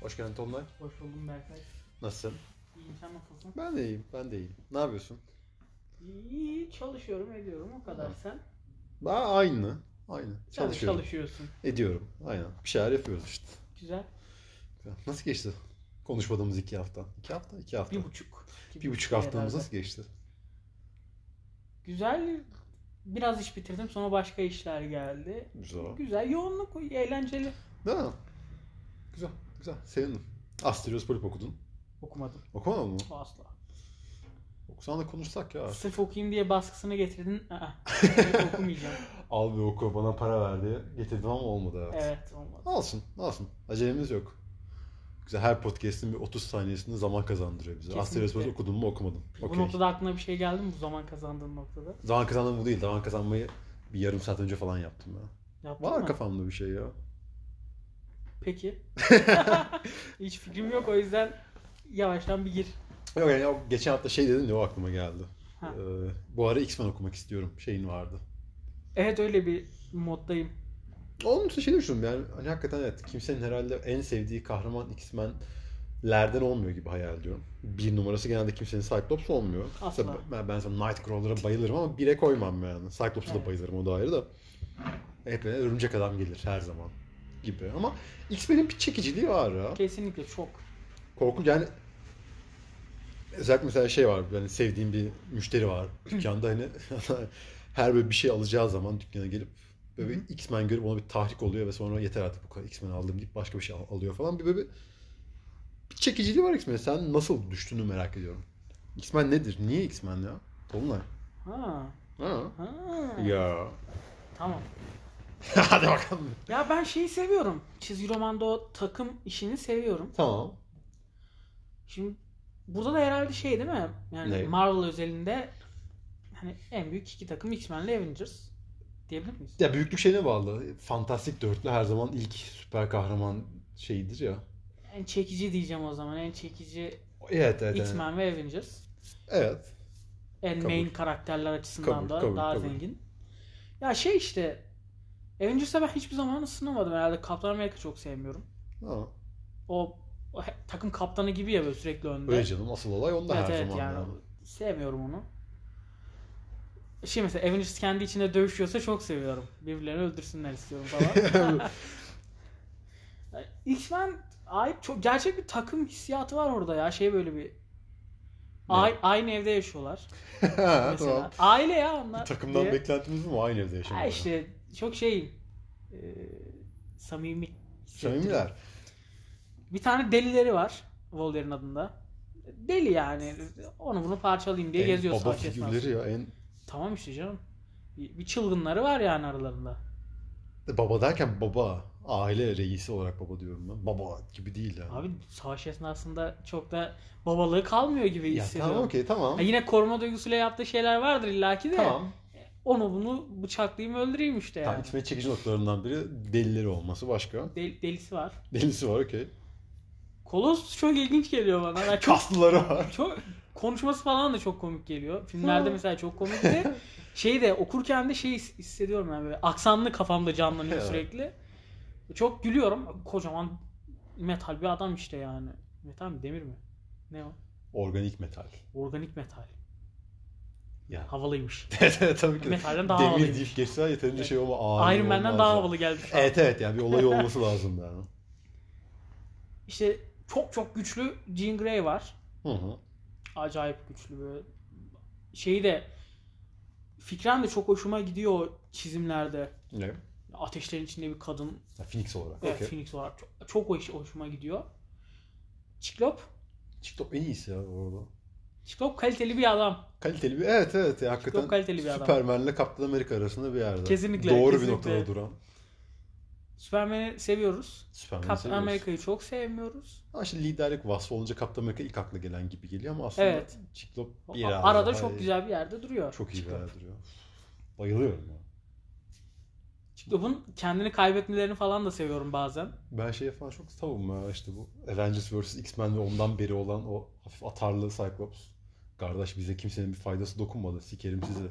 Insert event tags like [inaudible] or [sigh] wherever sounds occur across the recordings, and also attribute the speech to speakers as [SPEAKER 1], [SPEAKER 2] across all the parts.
[SPEAKER 1] Hoş geldin Tomlay.
[SPEAKER 2] Hoş buldum Berkay.
[SPEAKER 1] Nasılsın?
[SPEAKER 2] İyiyim sen nasılsın?
[SPEAKER 1] Ben de iyiyim, ben de iyiyim. Ne yapıyorsun?
[SPEAKER 2] İyi çalışıyorum ediyorum o kadar sen.
[SPEAKER 1] Ben aynı. Aynı.
[SPEAKER 2] Sen de
[SPEAKER 1] Çalışıyorum.
[SPEAKER 2] çalışıyorsun.
[SPEAKER 1] Ediyorum. Aynen. Bir şeyler yapıyoruz işte.
[SPEAKER 2] Güzel.
[SPEAKER 1] Nasıl geçti konuşmadığımız iki hafta? İki hafta? İki hafta.
[SPEAKER 2] Bir buçuk. iki
[SPEAKER 1] Bir buçuk haftamız
[SPEAKER 2] herhalde.
[SPEAKER 1] nasıl geçti?
[SPEAKER 2] Güzel. Biraz iş bitirdim sonra başka işler geldi.
[SPEAKER 1] Güzel.
[SPEAKER 2] Güzel. Yoğunluk eğlenceli.
[SPEAKER 1] Değil mi? Güzel, güzel. Sevindim. Asterios Polip okudun.
[SPEAKER 2] Okumadım.
[SPEAKER 1] Okumadın mı?
[SPEAKER 2] Asla.
[SPEAKER 1] Okusan da konuşsak ya.
[SPEAKER 2] Sırf okuyayım diye baskısını getirdin.
[SPEAKER 1] [laughs]
[SPEAKER 2] Aa, evet, okumayacağım.
[SPEAKER 1] Al bir oku, bana para verdi. Getirdim ama olmadı evet.
[SPEAKER 2] Evet olmadı.
[SPEAKER 1] Alsın, alsın. Acelemiz yok. Güzel, her podcast'in bir 30 saniyesinde zaman kazandırıyor bize.
[SPEAKER 2] Kesinlikle.
[SPEAKER 1] Asterios Polip okudun mu okumadın.
[SPEAKER 2] Bu
[SPEAKER 1] Okey.
[SPEAKER 2] noktada aklına bir şey geldi mi bu zaman kazandığın noktada?
[SPEAKER 1] Zaman kazandım bu değil. Zaman kazanmayı bir yarım saat önce falan yaptım ya.
[SPEAKER 2] Yaptın
[SPEAKER 1] Var
[SPEAKER 2] mı?
[SPEAKER 1] kafamda bir şey ya. [laughs]
[SPEAKER 2] Peki. Hiç fikrim yok o yüzden yavaştan bir gir.
[SPEAKER 1] Yok yani ya geçen hafta şey dedim ya o aklıma geldi.
[SPEAKER 2] Ha.
[SPEAKER 1] Ee, bu ara X-Men okumak istiyorum. Şeyin vardı.
[SPEAKER 2] Evet öyle bir moddayım.
[SPEAKER 1] Onun için şey düşündüm yani hani hakikaten evet kimsenin herhalde en sevdiği kahraman X-Men'lerden olmuyor gibi hayal ediyorum. Bir numarası genelde kimsenin Cyclops olmuyor.
[SPEAKER 2] Asla.
[SPEAKER 1] Mesela ben, ben mesela Nightcrawler'a bayılırım ama bire koymam yani. Cyclops'a
[SPEAKER 2] Evet.
[SPEAKER 1] da bayılırım o da ayrı da. Hep böyle örümcek adam gelir her zaman gibi ama X-Men'in bir çekiciliği var ya.
[SPEAKER 2] Kesinlikle çok.
[SPEAKER 1] korkunç yani özellikle mesela şey var yani sevdiğim bir müşteri
[SPEAKER 2] [clears throat]
[SPEAKER 1] var dükkanda hani [laughs] her böyle bir şey alacağı zaman dükkana gelip böyle bir X-Men görüp ona bir tahrik oluyor ve sonra yeter artık bu kadar X-Men aldım deyip başka bir şey al- alıyor falan bir böyle bir, bir çekiciliği var X-Men'e sen nasıl düştüğünü merak ediyorum. X-Men nedir? Niye X-Men ya? Dolunay.
[SPEAKER 2] Ha.
[SPEAKER 1] Ha.
[SPEAKER 2] Ha.
[SPEAKER 1] Ya.
[SPEAKER 2] Tamam.
[SPEAKER 1] [laughs] Hadi bakalım.
[SPEAKER 2] Ya ben şeyi seviyorum. Çizgi romanda o takım işini seviyorum.
[SPEAKER 1] Tamam.
[SPEAKER 2] Şimdi burada da herhalde şey değil mi? Yani
[SPEAKER 1] Ne?
[SPEAKER 2] Marvel özelinde hani en büyük iki takım X-Men ile Avengers diyebilir miyiz?
[SPEAKER 1] Ya büyüklük şeyine bağlı. Fantastik dörtlü her zaman ilk süper kahraman şeyidir ya.
[SPEAKER 2] En çekici diyeceğim o zaman. En çekici
[SPEAKER 1] Evet evet. evet.
[SPEAKER 2] X-Men ve Avengers.
[SPEAKER 1] Evet.
[SPEAKER 2] En
[SPEAKER 1] Kabul.
[SPEAKER 2] main karakterler açısından
[SPEAKER 1] Kabul,
[SPEAKER 2] da
[SPEAKER 1] kabul,
[SPEAKER 2] daha
[SPEAKER 1] kabul.
[SPEAKER 2] zengin. Ya şey işte Avengers'a ben hiçbir zaman ısınamadım herhalde. Kaptan Amerika çok sevmiyorum.
[SPEAKER 1] Ha.
[SPEAKER 2] O, o he- takım kaptanı gibi ya böyle sürekli önde.
[SPEAKER 1] Öyle canım asıl olay onda
[SPEAKER 2] evet
[SPEAKER 1] her
[SPEAKER 2] evet
[SPEAKER 1] zaman.
[SPEAKER 2] yani.
[SPEAKER 1] yani.
[SPEAKER 2] Sevmiyorum onu. Şey mesela Avengers kendi içinde dövüşüyorsa çok seviyorum. Birbirlerini öldürsünler istiyorum
[SPEAKER 1] [laughs]
[SPEAKER 2] falan. X-Men ait çok gerçek bir takım hissiyatı var orada ya. Şey böyle bir A- aynı evde yaşıyorlar
[SPEAKER 1] Ha,
[SPEAKER 2] [laughs]
[SPEAKER 1] [laughs]
[SPEAKER 2] mesela.
[SPEAKER 1] tamam.
[SPEAKER 2] Aile ya onlar.
[SPEAKER 1] Bir Takımdan
[SPEAKER 2] diye.
[SPEAKER 1] beklentimiz mi aynı evde
[SPEAKER 2] Ha
[SPEAKER 1] yaşamak?
[SPEAKER 2] işte çok şey e, samimi.
[SPEAKER 1] Samimiler.
[SPEAKER 2] Bir tane delileri var Wolverine adında. Deli yani. Onu bunu parçalayayım diye
[SPEAKER 1] En
[SPEAKER 2] geziyor
[SPEAKER 1] baba
[SPEAKER 2] savaş esnasında.
[SPEAKER 1] figürleri ya. En...
[SPEAKER 2] Tamam işte canım. Bir, bir çılgınları var yani aralarında.
[SPEAKER 1] E, Baba derken baba. Aile reisi olarak baba diyorum ben. Baba gibi değil yani.
[SPEAKER 2] Abi savaş esnasında çok da babalığı kalmıyor gibi
[SPEAKER 1] ya
[SPEAKER 2] hissediyorum.
[SPEAKER 1] tamam okey tamam.
[SPEAKER 2] Ha, yine koruma duygusuyla yaptığı şeyler vardır illaki de.
[SPEAKER 1] Tamam.
[SPEAKER 2] Onu bunu bıçaklayayım öldüreyim işte
[SPEAKER 1] Tamam,
[SPEAKER 2] yani.
[SPEAKER 1] itme çekici noktalarından biri delileri olması başka.
[SPEAKER 2] Del- delisi var.
[SPEAKER 1] Delisi var okey.
[SPEAKER 2] Kolos çok ilginç geliyor bana.
[SPEAKER 1] [laughs]
[SPEAKER 2] Ben çok
[SPEAKER 1] Kaslıları var.
[SPEAKER 2] Çok konuşması falan da çok komik geliyor. Filmlerde
[SPEAKER 1] Ha.
[SPEAKER 2] mesela
[SPEAKER 1] [laughs]
[SPEAKER 2] çok komikti. şey de okurken de şey his- hissediyorum yani böyle aksanlı kafamda canlanıyor
[SPEAKER 1] Evet.
[SPEAKER 2] sürekli. Çok gülüyorum. Kocaman metal bir adam işte yani. Metal mi demir mi? Ne o?
[SPEAKER 1] Organik metal. [laughs]
[SPEAKER 2] Organik metal.
[SPEAKER 1] Ya.
[SPEAKER 2] Havalıymış.
[SPEAKER 1] Tabii ki. de.
[SPEAKER 2] Metalden
[SPEAKER 1] [laughs]
[SPEAKER 2] daha
[SPEAKER 1] Demir
[SPEAKER 2] havalıymış.
[SPEAKER 1] deyip geçse yeterince
[SPEAKER 2] Evet.
[SPEAKER 1] şey olma. ağır
[SPEAKER 2] Iron Man'den
[SPEAKER 1] olmaz
[SPEAKER 2] daha
[SPEAKER 1] ya.
[SPEAKER 2] havalı geldi şu an.
[SPEAKER 1] Evet evet yani bir olay olması lazım yani.
[SPEAKER 2] İşte çok çok güçlü Jean Grey var.
[SPEAKER 1] Hı hı.
[SPEAKER 2] acayip güçlü böyle şeyi de fikren de çok hoşuma gidiyor o çizimlerde.
[SPEAKER 1] Ne?
[SPEAKER 2] Ateşlerin içinde bir kadın
[SPEAKER 1] Ya, Phoenix olarak.
[SPEAKER 2] evet,
[SPEAKER 1] okey.
[SPEAKER 2] Phoenix olarak çok, çok hoş- hoşuma gidiyor. Çiklop.
[SPEAKER 1] TikTok en iyisi ya orada.
[SPEAKER 2] Çiklop kaliteli bir adam.
[SPEAKER 1] Kaliteli bir evet evet ya, hakikaten
[SPEAKER 2] Çok kaliteli bir adam.
[SPEAKER 1] Superman'le Kaptan Amerika arasında bir yerde.
[SPEAKER 2] Kesinlikle,
[SPEAKER 1] Doğru
[SPEAKER 2] kesinlikle.
[SPEAKER 1] bir noktada duran.
[SPEAKER 2] Superman'i seviyoruz.
[SPEAKER 1] Superman'i
[SPEAKER 2] Captain
[SPEAKER 1] seviyoruz.
[SPEAKER 2] America'yı çok sevmiyoruz.
[SPEAKER 1] Ama şimdi liderlik vasfı olunca Kaptan Amerika ilk akla gelen gibi geliyor ama aslında
[SPEAKER 2] Evet.
[SPEAKER 1] Ciklop
[SPEAKER 2] O-
[SPEAKER 1] bir yerde
[SPEAKER 2] Arada
[SPEAKER 1] daha
[SPEAKER 2] çok
[SPEAKER 1] iyi-
[SPEAKER 2] güzel bir yerde duruyor.
[SPEAKER 1] Çok iyi bir
[SPEAKER 2] Cyclops.
[SPEAKER 1] yerde duruyor. Bayılıyorum ya.
[SPEAKER 2] Cyclop'un kendini kaybetmelerini falan da seviyorum bazen.
[SPEAKER 1] Ben şeye falan çok savunma ya işte bu Avengers vs. X-Men ve ondan beri olan o hafif atarlı Cyclops. Kardeş bize kimsenin bir faydası dokunmadı. Sikerim sizi.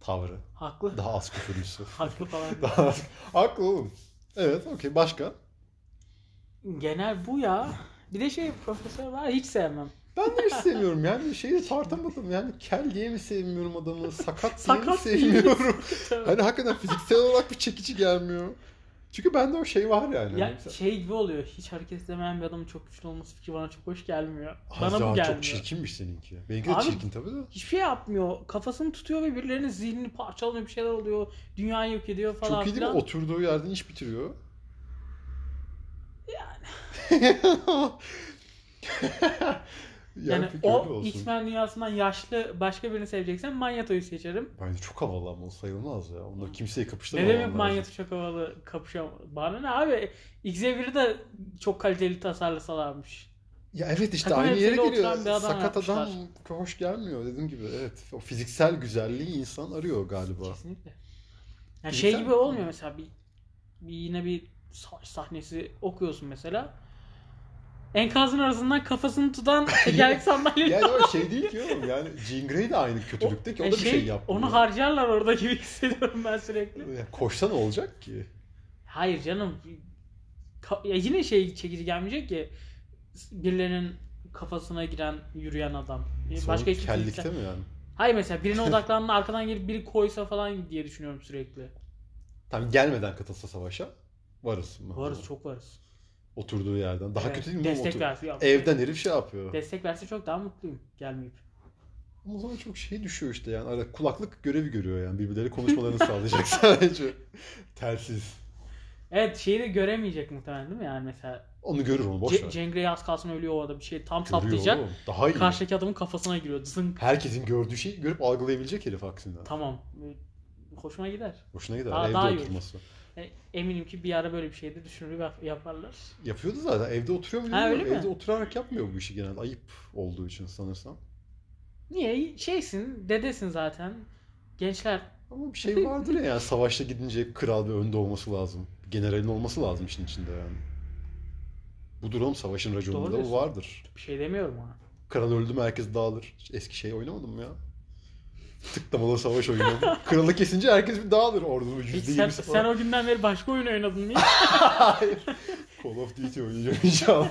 [SPEAKER 1] Tavrı.
[SPEAKER 2] Haklı.
[SPEAKER 1] Daha az küfürlüsü. [laughs]
[SPEAKER 2] Haklı falan.
[SPEAKER 1] Daha haklı oğlum. Evet okey başka.
[SPEAKER 2] Genel bu ya. Bir de şey profesör var hiç sevmem.
[SPEAKER 1] Ben de hiç sevmiyorum yani şeyi tartamadım yani kel diye mi sevmiyorum adamı sakat diye mi
[SPEAKER 2] Sakat diye.
[SPEAKER 1] sevmiyorum. [laughs]
[SPEAKER 2] Tabii.
[SPEAKER 1] hani hakikaten fiziksel olarak bir çekici gelmiyor. Çünkü bende o şey var yani.
[SPEAKER 2] ya şey gibi oluyor. Hiç hareket edemeyen bir adamın çok güçlü olması fikri bana çok hoş gelmiyor.
[SPEAKER 1] Az
[SPEAKER 2] Bana
[SPEAKER 1] daha
[SPEAKER 2] bu gelmiyor.
[SPEAKER 1] çok çirkinmiş seninki. Benimki de
[SPEAKER 2] Abi-
[SPEAKER 1] çirkin tabii de.
[SPEAKER 2] Hiçbir şey yapmıyor. Kafasını tutuyor ve birilerinin zihnini parçalanıyor bir şeyler oluyor. Dünyayı yok ediyor falan
[SPEAKER 1] Çok iyi değil mi?
[SPEAKER 2] filan.
[SPEAKER 1] Oturduğu yerden iş bitiriyor. [laughs] Yani. yani,
[SPEAKER 2] Yani
[SPEAKER 1] peki öyle
[SPEAKER 2] o
[SPEAKER 1] olsun.
[SPEAKER 2] X-Men dünyasından yaşlı başka birini seveceksen Manyeto'yu seçerim.
[SPEAKER 1] Bence çok havalı ama o sayılmaz ya. Onda kimseyi
[SPEAKER 2] Ne
[SPEAKER 1] kapıştıramam.
[SPEAKER 2] demek
[SPEAKER 1] lazım.
[SPEAKER 2] Manyeto çok havalı kapışam. Bana ne abi? Xavier'i de çok kaliteli tasarlasalarmış.
[SPEAKER 1] Ya evet işte
[SPEAKER 2] Takım
[SPEAKER 1] aynı yere
[SPEAKER 2] elbiseyle
[SPEAKER 1] geliyor.
[SPEAKER 2] E, oturan bir adam
[SPEAKER 1] Sakat adam
[SPEAKER 2] yapmışlar.
[SPEAKER 1] hoş gelmiyor dediğim gibi. Evet. O fiziksel güzelliği insan arıyor galiba.
[SPEAKER 2] Kesinlikle. Yani şey
[SPEAKER 1] Güzel.
[SPEAKER 2] gibi olmuyor mesela bir, bir yine bir savaş sahnesi okuyorsun mesela. Enkazın arasından
[SPEAKER 1] [laughs]
[SPEAKER 2] kafasını tutan tekerlek sandalye.
[SPEAKER 1] Yani o şey değil ki oğlum. Yani Jean Grey de aynı kötülükte ki o da
[SPEAKER 2] E
[SPEAKER 1] bir şey yapmıyor.
[SPEAKER 2] Onu harcarlar orada [laughs] gibi hissediyorum ben sürekli.
[SPEAKER 1] Yani koşsa ne olacak ki?
[SPEAKER 2] Hayır canım. Ka- ya yine şey çekici gelmeyecek ki birilerinin kafasına giren yürüyen adam. E,
[SPEAKER 1] Sonra
[SPEAKER 2] Başka hiçbir
[SPEAKER 1] kellikte
[SPEAKER 2] fiziksel-
[SPEAKER 1] mi yani?
[SPEAKER 2] Hayır mesela birine odaklandığında arkadan gelip biri koysa falan diye düşünüyorum sürekli.
[SPEAKER 1] Tam gelmeden katılsa savaşa varız mı?
[SPEAKER 2] Varız çok varız.
[SPEAKER 1] Oturduğu yerden. Daha
[SPEAKER 2] Evet,
[SPEAKER 1] kötü değil mi?
[SPEAKER 2] Destek
[SPEAKER 1] Otur-
[SPEAKER 2] verse. ya,
[SPEAKER 1] Evden herif şey yapıyor.
[SPEAKER 2] Destek verse çok daha mutluyum gelmeyip.
[SPEAKER 1] Ama o zaman çok şey düşüyor işte yani. Arada kulaklık görevi görüyor yani. Birbirleri
[SPEAKER 2] [laughs]
[SPEAKER 1] konuşmalarını sağlayacak sadece. Telsiz.
[SPEAKER 2] Evet şeyi de göremeyecek muhtemelen değil mi yani mesela.
[SPEAKER 1] Onu görür onu boş
[SPEAKER 2] C-
[SPEAKER 1] ver.
[SPEAKER 2] Cengre'ye az kalsın ölüyor o arada bir şey tam
[SPEAKER 1] Görüyor
[SPEAKER 2] saplayacak.
[SPEAKER 1] oğlum. Daha iyi.
[SPEAKER 2] Karşıdaki adamın kafasına giriyor. Zınk.
[SPEAKER 1] Herkesin gördüğü şeyi görüp algılayabilecek herif aksinden.
[SPEAKER 2] Tamam. Hoşuma gider.
[SPEAKER 1] Hoşuna gider
[SPEAKER 2] Daha-
[SPEAKER 1] evde
[SPEAKER 2] daha iyi olur.
[SPEAKER 1] oturması.
[SPEAKER 2] Yani eminim ki bir ara böyle bir şey de düşünür yap- yaparlar.
[SPEAKER 1] Yapıyordu zaten. Evde oturuyor mu
[SPEAKER 2] Ha,
[SPEAKER 1] bilmiyorum.
[SPEAKER 2] öyle mi?
[SPEAKER 1] Evde oturarak yapmıyor bu işi genelde. Ayıp olduğu için sanırsam.
[SPEAKER 2] Niye? Şeysin, dedesin zaten. Gençler
[SPEAKER 1] Ama bir şey vardır ya yani savaşta gidince kral ve önde olması lazım. Generalin olması lazım işin içinde yani. Bu durum savaşın
[SPEAKER 2] Doğru
[SPEAKER 1] raconunda bu
[SPEAKER 2] diyorsun.
[SPEAKER 1] vardır.
[SPEAKER 2] bir şey demiyorum ona.
[SPEAKER 1] Kral öldü mü herkes dağılır. Hiç Eski şey oynamadım mı ya? Tıklamalı savaş
[SPEAKER 2] [laughs]
[SPEAKER 1] oynadım. Kralı kesince herkes bir dağılır. Ordunun
[SPEAKER 2] Peki
[SPEAKER 1] yüzde
[SPEAKER 2] sen,
[SPEAKER 1] yirmisi
[SPEAKER 2] sen
[SPEAKER 1] falan.
[SPEAKER 2] o günden beri başka oyun oynadın mı? hiç? [laughs]
[SPEAKER 1] Hayır. Call of Duty oynayacağım
[SPEAKER 2] [laughs]
[SPEAKER 1] inşallah.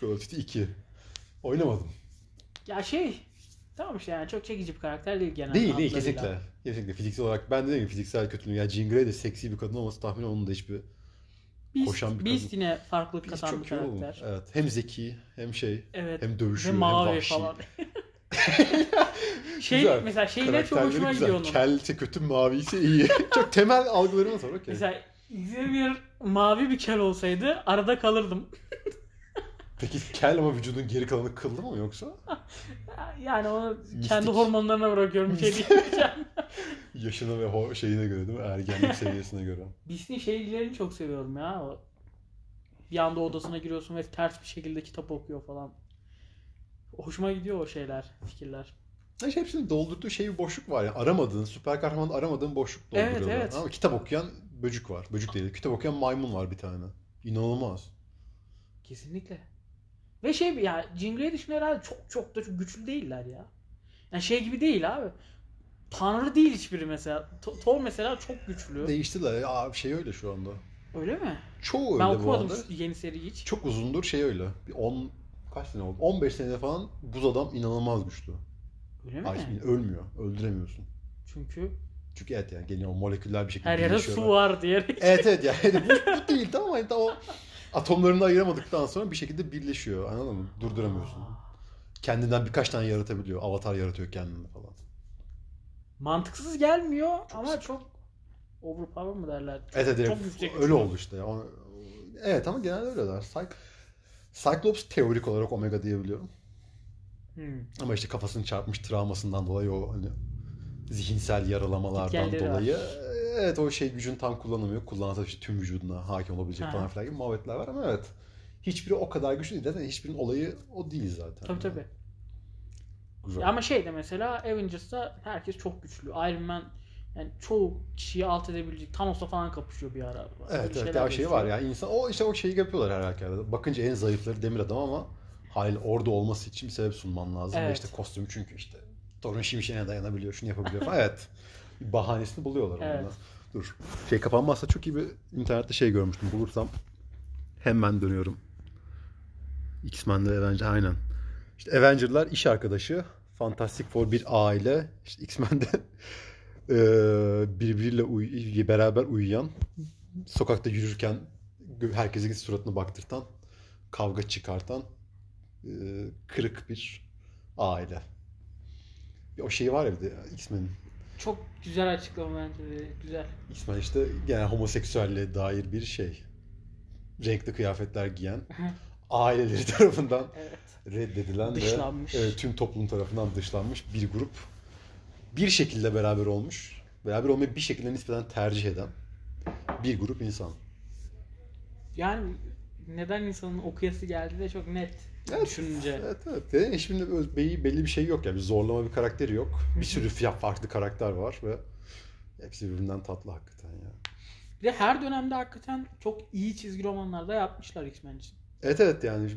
[SPEAKER 1] Call of Duty 2. Oynamadım.
[SPEAKER 2] ya şey, tamam işte yani çok çekici bir karakter değil genel
[SPEAKER 1] Değil değil
[SPEAKER 2] hatlarıyla.
[SPEAKER 1] kesinlikle. Kesinlikle fiziksel olarak ben de değil fiziksel kötülüğü. Yani Jean Grey de seksi bir kadın olması tahminen onun da hiçbir
[SPEAKER 2] Beast,
[SPEAKER 1] Koşan bir
[SPEAKER 2] Beast
[SPEAKER 1] kadın.
[SPEAKER 2] yine farklılık
[SPEAKER 1] Biz
[SPEAKER 2] katan
[SPEAKER 1] çok
[SPEAKER 2] bir
[SPEAKER 1] iyi oğlum.
[SPEAKER 2] karakter.
[SPEAKER 1] Evet. Hem zeki hem şey
[SPEAKER 2] Evet.
[SPEAKER 1] hem dövüşüyor
[SPEAKER 2] Ve
[SPEAKER 1] hem
[SPEAKER 2] mavi
[SPEAKER 1] vahşi. [laughs]
[SPEAKER 2] falan. şey
[SPEAKER 1] Güzel.
[SPEAKER 2] mesela şey ne çok
[SPEAKER 1] Karakterleri
[SPEAKER 2] hoşuma
[SPEAKER 1] güzel.
[SPEAKER 2] gidiyor onun.
[SPEAKER 1] Kel ise kötü mavi ise iyi. [laughs] Çok temel algılarımız var okey.
[SPEAKER 2] Mesela Xavier mavi bir kel olsaydı arada kalırdım.
[SPEAKER 1] Peki kel ama vücudun geri kalanı kıllı mı yoksa?
[SPEAKER 2] Yani onu kendi
[SPEAKER 1] Mistik.
[SPEAKER 2] hormonlarına bırakıyorum. Bir şey diyemeyeceğim. [laughs]
[SPEAKER 1] Yaşına ve ho- şeyine göre değil mi? Ergenlik seviyesine göre.
[SPEAKER 2] Disney şeylerini çok seviyorum ya. O bir anda odasına giriyorsun ve ters bir şekilde kitap okuyor falan. Hoşuma gidiyor o şeyler, fikirler.
[SPEAKER 1] Yani şey, hepsinin doldurduğu şey bir boşluk var. Yani aramadığın, süper kahraman aramadığın boşluk
[SPEAKER 2] Evet,
[SPEAKER 1] dolduruyorlar.
[SPEAKER 2] evet.
[SPEAKER 1] Ama kitap okuyan böcük var. Böcük değil. Kitap okuyan maymun var bir tane. İnanılmaz.
[SPEAKER 2] Kesinlikle. Ve şey bir- ya Jean Grey dışında herhalde çok çok da çok güçlü değiller ya. Yani şey gibi değil abi. Tanrı değil hiçbiri mesela. To- Thor mesela çok güçlü.
[SPEAKER 1] Değiştiler. Ya şey öyle şu anda.
[SPEAKER 2] Öyle mi?
[SPEAKER 1] Çoğu öyle
[SPEAKER 2] ben
[SPEAKER 1] bu
[SPEAKER 2] okumadım
[SPEAKER 1] arada.
[SPEAKER 2] şu yeni seriyi hiç.
[SPEAKER 1] Çok uzundur şey öyle. Bir 10 kaç sene oldu? 15 sene falan buz adam inanılmaz güçlü.
[SPEAKER 2] Öyle mi?
[SPEAKER 1] Ay, ölmüyor. Öldüremiyorsun.
[SPEAKER 2] Çünkü
[SPEAKER 1] Çünkü evet yani gene o moleküller bir şekilde
[SPEAKER 2] her yerde
[SPEAKER 1] birleşiyorlar.
[SPEAKER 2] su var diyerek.
[SPEAKER 1] Evet evet yani bu, bu değil tamam hani o atomlarını ayıramadıktan sonra bir şekilde birleşiyor anladın mı? Durduramıyorsun. Kendinden birkaç tane yaratabiliyor. Avatar yaratıyor kendini falan.
[SPEAKER 2] Mantıksız gelmiyor ama çok overpower mı derler?
[SPEAKER 1] Evet evet
[SPEAKER 2] Çok
[SPEAKER 1] evet.
[SPEAKER 2] yüksek
[SPEAKER 1] öyle
[SPEAKER 2] güçlü.
[SPEAKER 1] oldu işte. O- Evet ama genelde öyleler. Cyclops Cyclops teorik olarak Omega diyebiliyorum.
[SPEAKER 2] Hmm.
[SPEAKER 1] Ama işte kafasını çarpmış travmasından dolayı o hani zihinsel yaralamalardan
[SPEAKER 2] Etkenleri var.
[SPEAKER 1] dolayı evet o şey gücünü tam kullanamıyor. Kullansa işte tüm vücuduna hakim olabilecek
[SPEAKER 2] Aha.
[SPEAKER 1] falan filan gibi muhabbetler var ama evet. Hiçbiri o kadar güçlü değil. Zaten hiçbirinin olayı o değil zaten.
[SPEAKER 2] Tabii tabii.
[SPEAKER 1] Güzel.
[SPEAKER 2] Ya Ama şey de mesela Avengers'ta herkes çok güçlü. Iron Man yani çoğu kişiyi alt edebilecek. Thanos'la falan kapışıyor bir ara. Böyle
[SPEAKER 1] evet evet
[SPEAKER 2] şeyler
[SPEAKER 1] ya şey
[SPEAKER 2] yaşıyor.
[SPEAKER 1] var ya insan o işte o şeyi yapıyorlar her halükarda. Bakınca en zayıfları demir adam ama hayır orada olması için bir sebep sunman lazım. Ve
[SPEAKER 2] Evet.
[SPEAKER 1] işte kostüm çünkü işte torun şimşeğine dayanabiliyor şunu yapabiliyor falan. evet. Bir bahanesini buluyorlar
[SPEAKER 2] Evet.
[SPEAKER 1] onunla. Dur. Şey kapanmazsa çok iyi bir internette şey görmüştüm. Bulursam Hemen dönüyorum. X-Men'de Avenger aynen. İşte Avenger'lar iş arkadaşı. Fantastic Four bir aile. İşte X-Men'de [laughs] eee, birbiriyle uy- beraber uyuyan, sokakta yürürken gö- herkesin suratına baktırtan, kavga çıkartan eee, kırık bir aile. Ya O şeyi var ya bir de X-Men'in.
[SPEAKER 2] Çok güzel açıklama bence de. Güzel.
[SPEAKER 1] İsmail işte yani homoseksüelle dair bir şey. Renkli kıyafetler giyen, aileleri [laughs] tarafından
[SPEAKER 2] Evet.
[SPEAKER 1] reddedilen
[SPEAKER 2] Dışlanmış.
[SPEAKER 1] ve evet, tüm toplum tarafından dışlanmış bir grup. Bir şekilde beraber olmuş, beraber olmayı bir şekilde nispeten tercih eden bir grup insan.
[SPEAKER 2] Yani neden insanın okuyası geldi de çok net
[SPEAKER 1] Evet.
[SPEAKER 2] düşününce.
[SPEAKER 1] Evet evet. Yani şimdi öz- belli, belli bir şey yok ya. Bir zorlama bir karakteri yok. Bir sürü fiyat farklı karakter var ve hepsi birbirinden tatlı hakikaten ya.
[SPEAKER 2] Bir de her dönemde hakikaten çok iyi çizgi romanlarda yapmışlar X-Men için.
[SPEAKER 1] Evet evet yani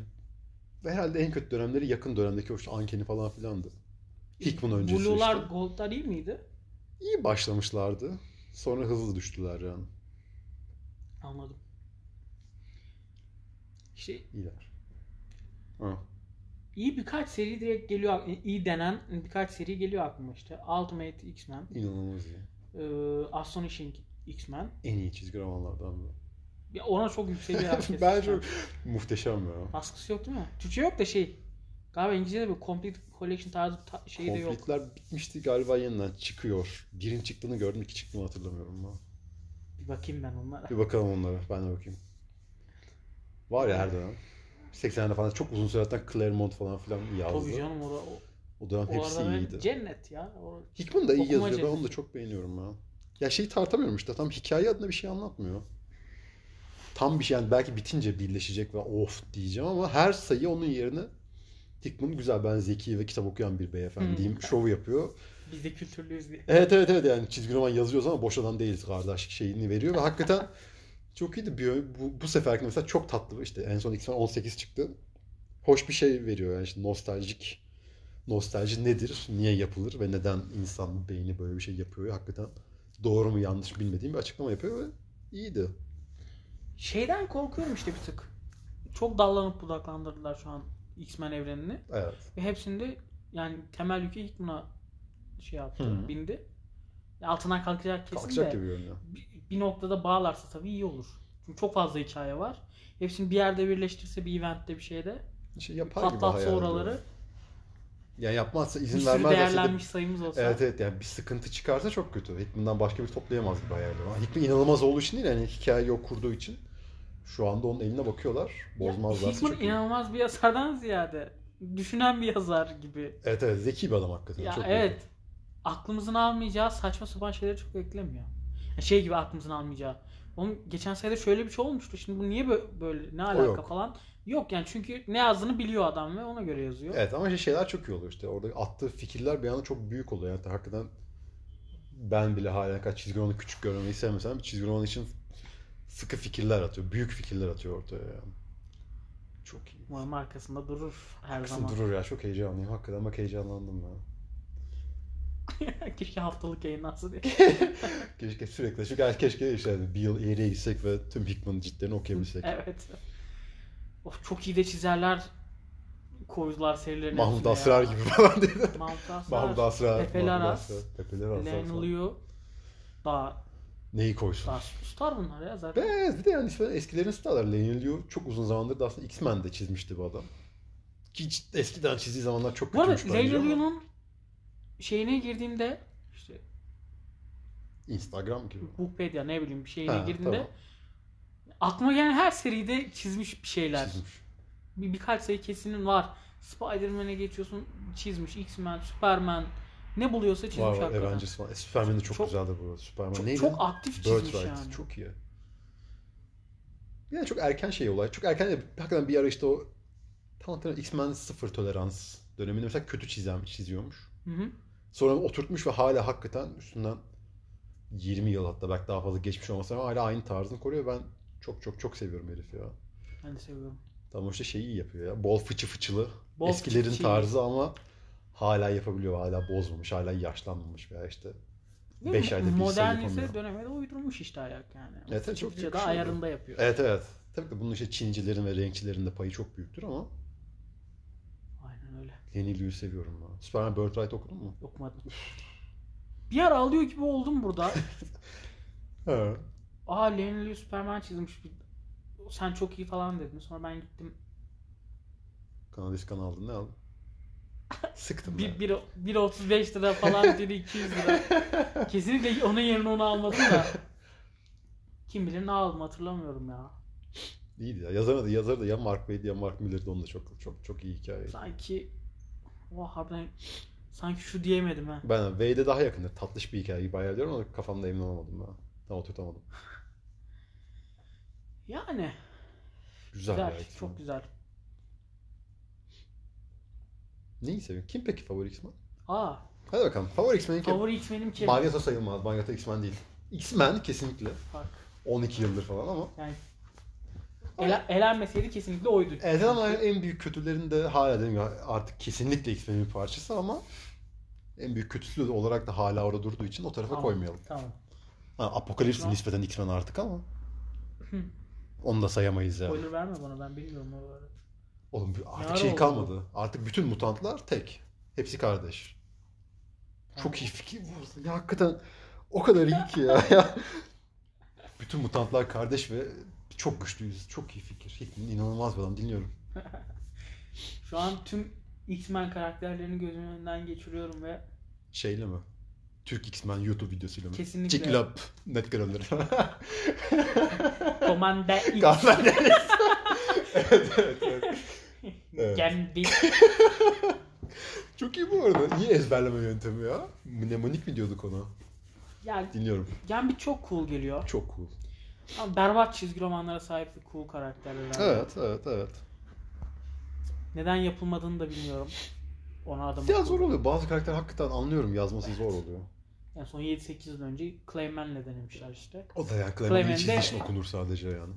[SPEAKER 1] herhalde en kötü dönemleri yakın dönemdeki o işte Uncanny falan filandı. Hickman öncesi
[SPEAKER 2] Blue'lar
[SPEAKER 1] işte.
[SPEAKER 2] Gold'lar iyi miydi?
[SPEAKER 1] İyi başlamışlardı. Sonra hızlı düştüler yani.
[SPEAKER 2] Anladım. İşte
[SPEAKER 1] İyiler. Ha.
[SPEAKER 2] iyi birkaç seri direkt geliyor. ak- e, iyi denen birkaç seri geliyor aklıma işte. Ultimate X-Men,
[SPEAKER 1] İnanılmaz iyi.
[SPEAKER 2] eee, Astonishing X-Men.
[SPEAKER 1] En iyi çizgi romanlardan biri.
[SPEAKER 2] Ya ona çok yükseliyor
[SPEAKER 1] [laughs]
[SPEAKER 2] herkes.
[SPEAKER 1] Ben
[SPEAKER 2] X-Men.
[SPEAKER 1] çok muhteşem ya.
[SPEAKER 2] Baskısı yok değil mi? Türkçe yok da şey. Galiba İngilizce'de bir complete collection tarzı bir ta- şey de yok.
[SPEAKER 1] Konflikler bitmişti galiba yeniden çıkıyor. Birin çıktığını gördüm, iki çıktığını hatırlamıyorum ben.
[SPEAKER 2] Bir bakayım ben onlara.
[SPEAKER 1] Bir bakalım onlara, ben de bakayım. Var ya her dönem. 80'lerde falan çok uzun süre hatta Claremont falan filan
[SPEAKER 2] Tabii
[SPEAKER 1] yazdı.
[SPEAKER 2] canım orada.
[SPEAKER 1] O dönem
[SPEAKER 2] O
[SPEAKER 1] hepsi
[SPEAKER 2] arada
[SPEAKER 1] iyiydi.
[SPEAKER 2] ben cennet ya. O-
[SPEAKER 1] Hickman da iyi
[SPEAKER 2] Okuma
[SPEAKER 1] yazıyor. Ben onu da
[SPEAKER 2] cenneti.
[SPEAKER 1] çok beğeniyorum ya. Ya şeyi tartamıyorum işte. Tam hikaye adına bir şey anlatmıyor. Tam bir şey yani belki bitince birleşecek ve of diyeceğim ama her sayı onun yerine Hickman güzel ben zeki ve kitap okuyan bir beyefendiyim
[SPEAKER 2] Hmm.
[SPEAKER 1] şovu yapıyor.
[SPEAKER 2] Biz de kültürlüyüz diye.
[SPEAKER 1] Evet evet evet yani çizgi roman yazıyoruz ama boş adam değiliz kardeş şeyini veriyor ve hakikaten çok iyiydi. Bir, bu, bu seferki mesela çok tatlı işte en son X-Men 18 çıktı. Hoş bir şey veriyor yani işte nostaljik. Nostalji nedir? Niye yapılır? Ve neden insan beyni böyle bir şey yapıyor? Hakikaten doğru mu yanlış bilmediğim bir açıklama yapıyor ve iyiydi.
[SPEAKER 2] Şeyden korkuyorum işte bir tık. Çok dallanıp budaklandırdılar şu an X-Men evrenini.
[SPEAKER 1] Evet.
[SPEAKER 2] Ve hepsinde yani temel yükü Hickman'a şey yaptı,
[SPEAKER 1] Hı.
[SPEAKER 2] bindi. Ya Altından kalkacak kesin
[SPEAKER 1] Kalkacak
[SPEAKER 2] de
[SPEAKER 1] gibi görünüyor.
[SPEAKER 2] bir, bir noktada bağlarsa tabii iyi olur. Çünkü çok fazla hikaye var. Hepsini bir yerde birleştirse bir eventte bir şeyde
[SPEAKER 1] Şey yapar gibi hayal
[SPEAKER 2] patlatsa
[SPEAKER 1] ediyorum.
[SPEAKER 2] oraları
[SPEAKER 1] Yani yapmazsa
[SPEAKER 2] bir
[SPEAKER 1] izin
[SPEAKER 2] sürü
[SPEAKER 1] vermezlerse de
[SPEAKER 2] değerlenmiş sayımız olsa.
[SPEAKER 1] Evet evet yani bir sıkıntı çıkarsa çok kötü. Hickman'dan başka bir toplayamaz gibi hayal ediyorum. Hickman inanılmaz olduğu için değil yani hikayeyi o kurduğu için. Şu anda onun eline bakıyorlar.
[SPEAKER 2] Ya,
[SPEAKER 1] Bozmazlarsa
[SPEAKER 2] Hickman
[SPEAKER 1] çok iyi.
[SPEAKER 2] inanılmaz bir yazardan ziyade düşünen bir yazar gibi.
[SPEAKER 1] Evet evet zeki bir adam hakikaten.
[SPEAKER 2] Ya
[SPEAKER 1] çok iyi.
[SPEAKER 2] evet. Aklımızın almayacağı saçma sapan şeyleri çok eklemiyor. Ya şey gibi aklımızın almayacağı. Onun geçen sayıda şöyle bir şey olmuştu. Şimdi bu niye bö- böyle ne alaka
[SPEAKER 1] yok.
[SPEAKER 2] falan? Yok yani çünkü ne yazdığını biliyor adam ve ona göre yazıyor.
[SPEAKER 1] Evet ama şey- şeyler çok iyi oluyor işte. Orada attığı fikirler bir anda çok büyük oluyor. Yani hakikaten ben bile hala ne kadar çizgi romanı küçük görmeyi sevmesem bir çizgi roman için sıkı fikirler atıyor. Büyük fikirler atıyor ortaya yani. Çok iyi.
[SPEAKER 2] Umarım arkasında durur her
[SPEAKER 1] Kısım
[SPEAKER 2] zaman.
[SPEAKER 1] durur ya çok heyecanlıyım. Hakikaten bak heyecanlandım ya.
[SPEAKER 2] [laughs] Keşke haftalık yayınlansa diye.
[SPEAKER 1] Keşke sürekli. Çünkü yani keşke işte hani bir yıl ileriye gitsek ve tüm Hickman ciltlerini okuyabilsek.
[SPEAKER 2] [laughs] evet. Of çok iyi de çizerler koydular serilerine.
[SPEAKER 1] Mahmut Asrar gibi falan değil mi?
[SPEAKER 2] Mahmut Asrar.
[SPEAKER 1] Mahmut Asrar.
[SPEAKER 2] Tepeler
[SPEAKER 1] Mahmut
[SPEAKER 2] As,
[SPEAKER 1] Asrar, Tepeler As.
[SPEAKER 2] Len
[SPEAKER 1] Asrar.
[SPEAKER 2] Liu. Daha,
[SPEAKER 1] Neyi koysun?
[SPEAKER 2] daha star bunlar ya zaten.
[SPEAKER 1] Evet bir de yani işte eskilerin starları. Len Liu çok uzun zamandır da aslında X-Men'de çizmişti bu adam. Ki hiç- eskiden çizdiği zamanlar çok
[SPEAKER 2] Bu arada
[SPEAKER 1] kötüymüş bence
[SPEAKER 2] Leyla
[SPEAKER 1] ama.
[SPEAKER 2] Lu'nun şeyine girdiğimde işte
[SPEAKER 1] Instagram gibi.
[SPEAKER 2] Bookpedia ne bileyim bir şeyine
[SPEAKER 1] Ha,
[SPEAKER 2] girdiğimde aklıma gelen her seride çizmiş bir şeyler.
[SPEAKER 1] tamam. Çizmiş.
[SPEAKER 2] Bir, birkaç sayı kesinin var. Spider-Man'e geçiyorsun çizmiş. X-Men, Superman ne buluyorsa çizmiş
[SPEAKER 1] Var var
[SPEAKER 2] hakikaten.
[SPEAKER 1] Avengers falan. E, Superman de çok,
[SPEAKER 2] Çok-
[SPEAKER 1] güzeldi bu. Superman
[SPEAKER 2] Çok,
[SPEAKER 1] neydi?
[SPEAKER 2] çok aktif çizmiş
[SPEAKER 1] Birthright.
[SPEAKER 2] yani.
[SPEAKER 1] Çok iyi. Yani çok erken şey olay. Çok erken de hakikaten bir ara işte o tam hatırlamıyorum X-Men sıfır tolerans döneminde mesela kötü çizem, çiziyormuş.
[SPEAKER 2] Hı hı.
[SPEAKER 1] Sonra oturtmuş ve hala hakikaten üstünden 20 yıl hatta belki daha fazla geçmiş olmasa ama hala aynı tarzını koruyor. Ben çok çok çok seviyorum herifi ya.
[SPEAKER 2] Ben de seviyorum.
[SPEAKER 1] Tam işte şeyi iyi yapıyor ya. Bol fıçı fıçılı.
[SPEAKER 2] Bol
[SPEAKER 1] Eskilerin
[SPEAKER 2] fıçı.
[SPEAKER 1] tarzı ama hala yapabiliyor. Hala bozmamış. Hala yaşlanmamış veya işte.
[SPEAKER 2] Ve
[SPEAKER 1] Beş ayda bir sayı
[SPEAKER 2] modernite
[SPEAKER 1] yapamıyor.
[SPEAKER 2] döneme de uydurmuş işte ayak yani.
[SPEAKER 1] Evet, evet, çok
[SPEAKER 2] Çiftçe
[SPEAKER 1] büyük
[SPEAKER 2] de
[SPEAKER 1] şey bu.
[SPEAKER 2] ayarında yapıyor.
[SPEAKER 1] Evet evet. Tabii ki bunun işte Çincilerin ve renkçilerin de payı çok büyüktür ama
[SPEAKER 2] Aynen öyle.
[SPEAKER 1] Lenny Liu'yu seviyorum ben. Superman Birthright okudun mu?
[SPEAKER 2] Okumadım. Bir ara ağlıyor gibi
[SPEAKER 1] [laughs]
[SPEAKER 2] oldum burada.
[SPEAKER 1] He.
[SPEAKER 2] Aa Lenny Liu Superman çizmiş. Bir- Sen çok iyi falan dedin. Sonra ben gittim.
[SPEAKER 1] Kanadiskan aldın ne
[SPEAKER 2] [laughs]
[SPEAKER 1] aldın? Sıktım
[SPEAKER 2] Bir-
[SPEAKER 1] ben.
[SPEAKER 2] bir- 1.35 lira falan dedi 200 lira.
[SPEAKER 1] [laughs]
[SPEAKER 2] Kesinlikle onun yerine onu almasın da. Kim bilir ne aldım hatırlamıyorum ya.
[SPEAKER 1] İyiydi ya. Yazarı da, yazarı da ya Mark Wade ya Mark Miller'dı. Onun da çok çok çok iyi hikaye.
[SPEAKER 2] Sanki o harbiden sanki şu diyemedim ha.
[SPEAKER 1] Ben Wade'e daha yakındır. Tatlış bir hikayeyi bayağı diyorum ama kafamda emin olamadım ben. Tam oturtamadım.
[SPEAKER 2] Yani
[SPEAKER 1] Güzel,
[SPEAKER 2] güzel,
[SPEAKER 1] ya. X-Men.
[SPEAKER 2] çok güzel.
[SPEAKER 1] Neyi seviyorsun? Kim peki favori X-Men?
[SPEAKER 2] Aa
[SPEAKER 1] Hadi bakalım. Favori X-Men'in kim?
[SPEAKER 2] favori içmenim ki.
[SPEAKER 1] Magneto sayılmaz. Magneto X-Men değil. X-Men kesinlikle.
[SPEAKER 2] Bak
[SPEAKER 1] 12 yıldır falan ama.
[SPEAKER 2] yani ele, elenmeseydi kesinlikle oydu.
[SPEAKER 1] Evet ama en büyük kötülerin de hala dedim ya artık kesinlikle X-Men'in bir parçası ama en büyük kötüsü de olarak da hala orada durduğu için o tarafa
[SPEAKER 2] Tamam,
[SPEAKER 1] koymayalım.
[SPEAKER 2] Tamam.
[SPEAKER 1] Ha, Apokalips
[SPEAKER 2] Şu an-
[SPEAKER 1] nispeten X-Men artık ama
[SPEAKER 2] Hı.
[SPEAKER 1] onu da sayamayız yani.
[SPEAKER 2] Spoiler verme bana ben bilmiyorum. o arada.
[SPEAKER 1] Oğlum bir-
[SPEAKER 2] ara
[SPEAKER 1] artık şey
[SPEAKER 2] oldu
[SPEAKER 1] kalmadı. Artık bütün mutantlar tek. Hepsi kardeş. Çok iyi fikir bu. Ya hakikaten o kadar iyi ki ya. Ya bütün mutantlar kardeş ve çok güçlüyüz. Çok iyi fikir. Hickman inanılmaz bir adam. Dinliyorum.
[SPEAKER 2] Şu an tüm X-Men karakterlerini gözümün önünden geçiriyorum ve
[SPEAKER 1] Şeyle mi? Türk X-Men YouTube videosuyla mı?
[SPEAKER 2] Kesinlikle.
[SPEAKER 1] Check it up. Net kararları. [laughs]
[SPEAKER 2] Komanda X
[SPEAKER 1] Gazlar neresi? evet, evet, evet. Evet.
[SPEAKER 2] kendi
[SPEAKER 1] Çok iyi bu arada. İyi ezberleme yöntemi ya. Mnemonik mi diyorduk ona?
[SPEAKER 2] yani
[SPEAKER 1] Dinliyorum.
[SPEAKER 2] Gambit çok cool geliyor.
[SPEAKER 1] Çok cool.
[SPEAKER 2] Ama berbat çizgi romanlara sahip bir cool karakterler. abi.
[SPEAKER 1] Evet, evet, evet.
[SPEAKER 2] Neden yapılmadığını da bilmiyorum. Ona adam
[SPEAKER 1] Ya zor oluyor. Bazı karakter hakikaten anlıyorum yazması zor oluyor.
[SPEAKER 2] En son 7-8 yıl önce Clayman'le denemişler işte.
[SPEAKER 1] O da yani
[SPEAKER 2] Clement'in
[SPEAKER 1] Clement'in
[SPEAKER 2] çizdiği
[SPEAKER 1] çizdiği
[SPEAKER 2] için
[SPEAKER 1] okunur sadece yani.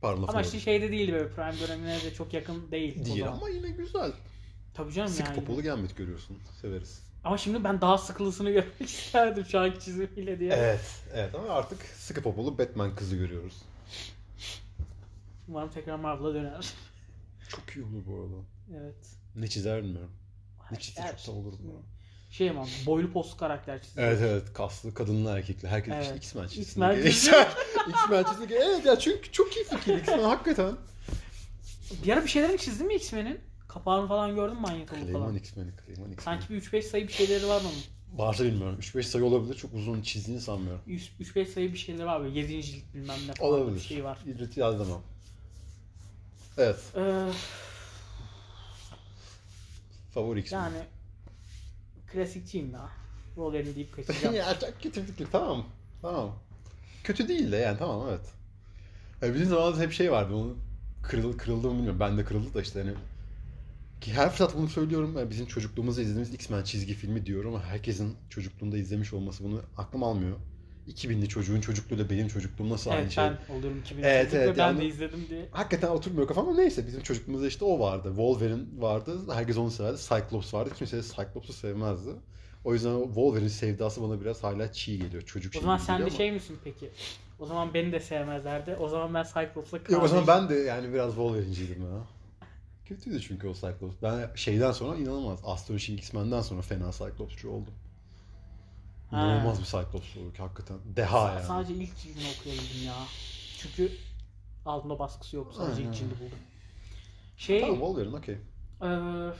[SPEAKER 1] Pardon
[SPEAKER 2] Ama işte şeyde değil böyle Prime dönemine de çok yakın değil. o
[SPEAKER 1] Değil
[SPEAKER 2] zaman.
[SPEAKER 1] ama yine güzel.
[SPEAKER 2] Tabii canım
[SPEAKER 1] Sık
[SPEAKER 2] yani.
[SPEAKER 1] popolu gelmet görüyorsun. Severiz.
[SPEAKER 2] Ama şimdi ben daha sıklısını [laughs] görmek isterdim şu anki çizimiyle diye.
[SPEAKER 1] Evet. Evet ama artık sıkı popolu Batman kızı görüyoruz.
[SPEAKER 2] Umarım tekrar Marvel'a döner. [laughs]
[SPEAKER 1] Çok iyi olur bu arada.
[SPEAKER 2] evet.
[SPEAKER 1] Ne çizer bilmiyorum. Ne çizse
[SPEAKER 2] Her-
[SPEAKER 1] çok da olur mu?
[SPEAKER 2] Şey ama boylu poslu karakter çizim.
[SPEAKER 1] Evet evet kaslı kadınla erkekle herkes
[SPEAKER 2] Evet.
[SPEAKER 1] işte X-Men çizsin.
[SPEAKER 2] X-Men çizsin.
[SPEAKER 1] [laughs] X-Men çizsin. Evet ya çünkü çok iyi fikir
[SPEAKER 2] [laughs]
[SPEAKER 1] X-Men hakikaten.
[SPEAKER 2] Bir ara bir şeylerini çizdin mi X-Men'in? Kapağını falan gördün mü Manyetolu
[SPEAKER 1] Clayman
[SPEAKER 2] falan?
[SPEAKER 1] X-Men'i Clayman X-Men'i.
[SPEAKER 2] Sanki bir 3-5 sayı bir şeyleri var onun.
[SPEAKER 1] Varsa bilmiyorum. 3-5 sayı olabilir. Çok uzun çizdiğini sanmıyorum.
[SPEAKER 2] 3-5 sayı bir şeyleri var böyle 7. cilt bilmem ne falan
[SPEAKER 1] Olabilir.
[SPEAKER 2] bir şey var.
[SPEAKER 1] İdriti yazdım Evet.
[SPEAKER 2] Ee,
[SPEAKER 1] Favori X-Men.
[SPEAKER 2] yani klasikçiyim ya. Rollerini deyip
[SPEAKER 1] [laughs]
[SPEAKER 2] kaçacağım.
[SPEAKER 1] ya çok kötü fikir. Tamam. Tamam. Kötü değil de yani tamam evet. Ya bizim zamanımızda hep şey vardı. Onu kırıl, kırıldı mı bilmiyorum. Ben de kırıldı da işte hani ki her fırsat bunu söylüyorum. Yani bizim çocukluğumuzda izlediğimiz X-Men çizgi filmi diyorum ama herkesin çocukluğunda izlemiş olması bunu aklım almıyor. 2000'li çocuğun çocukluğuyla benim çocukluğum nasıl aynı
[SPEAKER 2] evet
[SPEAKER 1] şey?
[SPEAKER 2] ben oluyorum 2000
[SPEAKER 1] Evet,
[SPEAKER 2] çocukta,
[SPEAKER 1] evet,
[SPEAKER 2] ben
[SPEAKER 1] yani-
[SPEAKER 2] de izledim diye.
[SPEAKER 1] Hakikaten oturmuyor kafam ama neyse bizim çocukluğumuzda işte o vardı. Wolverine vardı. Herkes onu severdi. Cyclops vardı. Kimse de Cyclops'u sevmezdi. O yüzden o Wolverine sevdası bana biraz hala çiğ geliyor. Çocuk
[SPEAKER 2] O
[SPEAKER 1] şeyi
[SPEAKER 2] zaman
[SPEAKER 1] gibi
[SPEAKER 2] sen de
[SPEAKER 1] geliyor ama-
[SPEAKER 2] şey misin peki? O zaman beni de sevmezlerdi. O zaman ben Cyclops'la
[SPEAKER 1] Yok o zaman
[SPEAKER 2] kardeşim-
[SPEAKER 1] ben de yani biraz Wolverine'ciydim ya. Kötüydü çünkü o Cyclops. Ben şeyden sonra inanılmaz. Astonishing X-Men'den sonra fena Cyclops'cu oldum.
[SPEAKER 2] Ha.
[SPEAKER 1] İnanılmaz bir Cyclops olur ki hakikaten. Deha yani.
[SPEAKER 2] Sadece ilk cildini okuyabildim ya. Çünkü altında baskısı yok. Sadece
[SPEAKER 1] Aynen.
[SPEAKER 2] ilk cildi buldum. Şey,
[SPEAKER 1] Tamam Wolverine okey.
[SPEAKER 2] eee, Ee,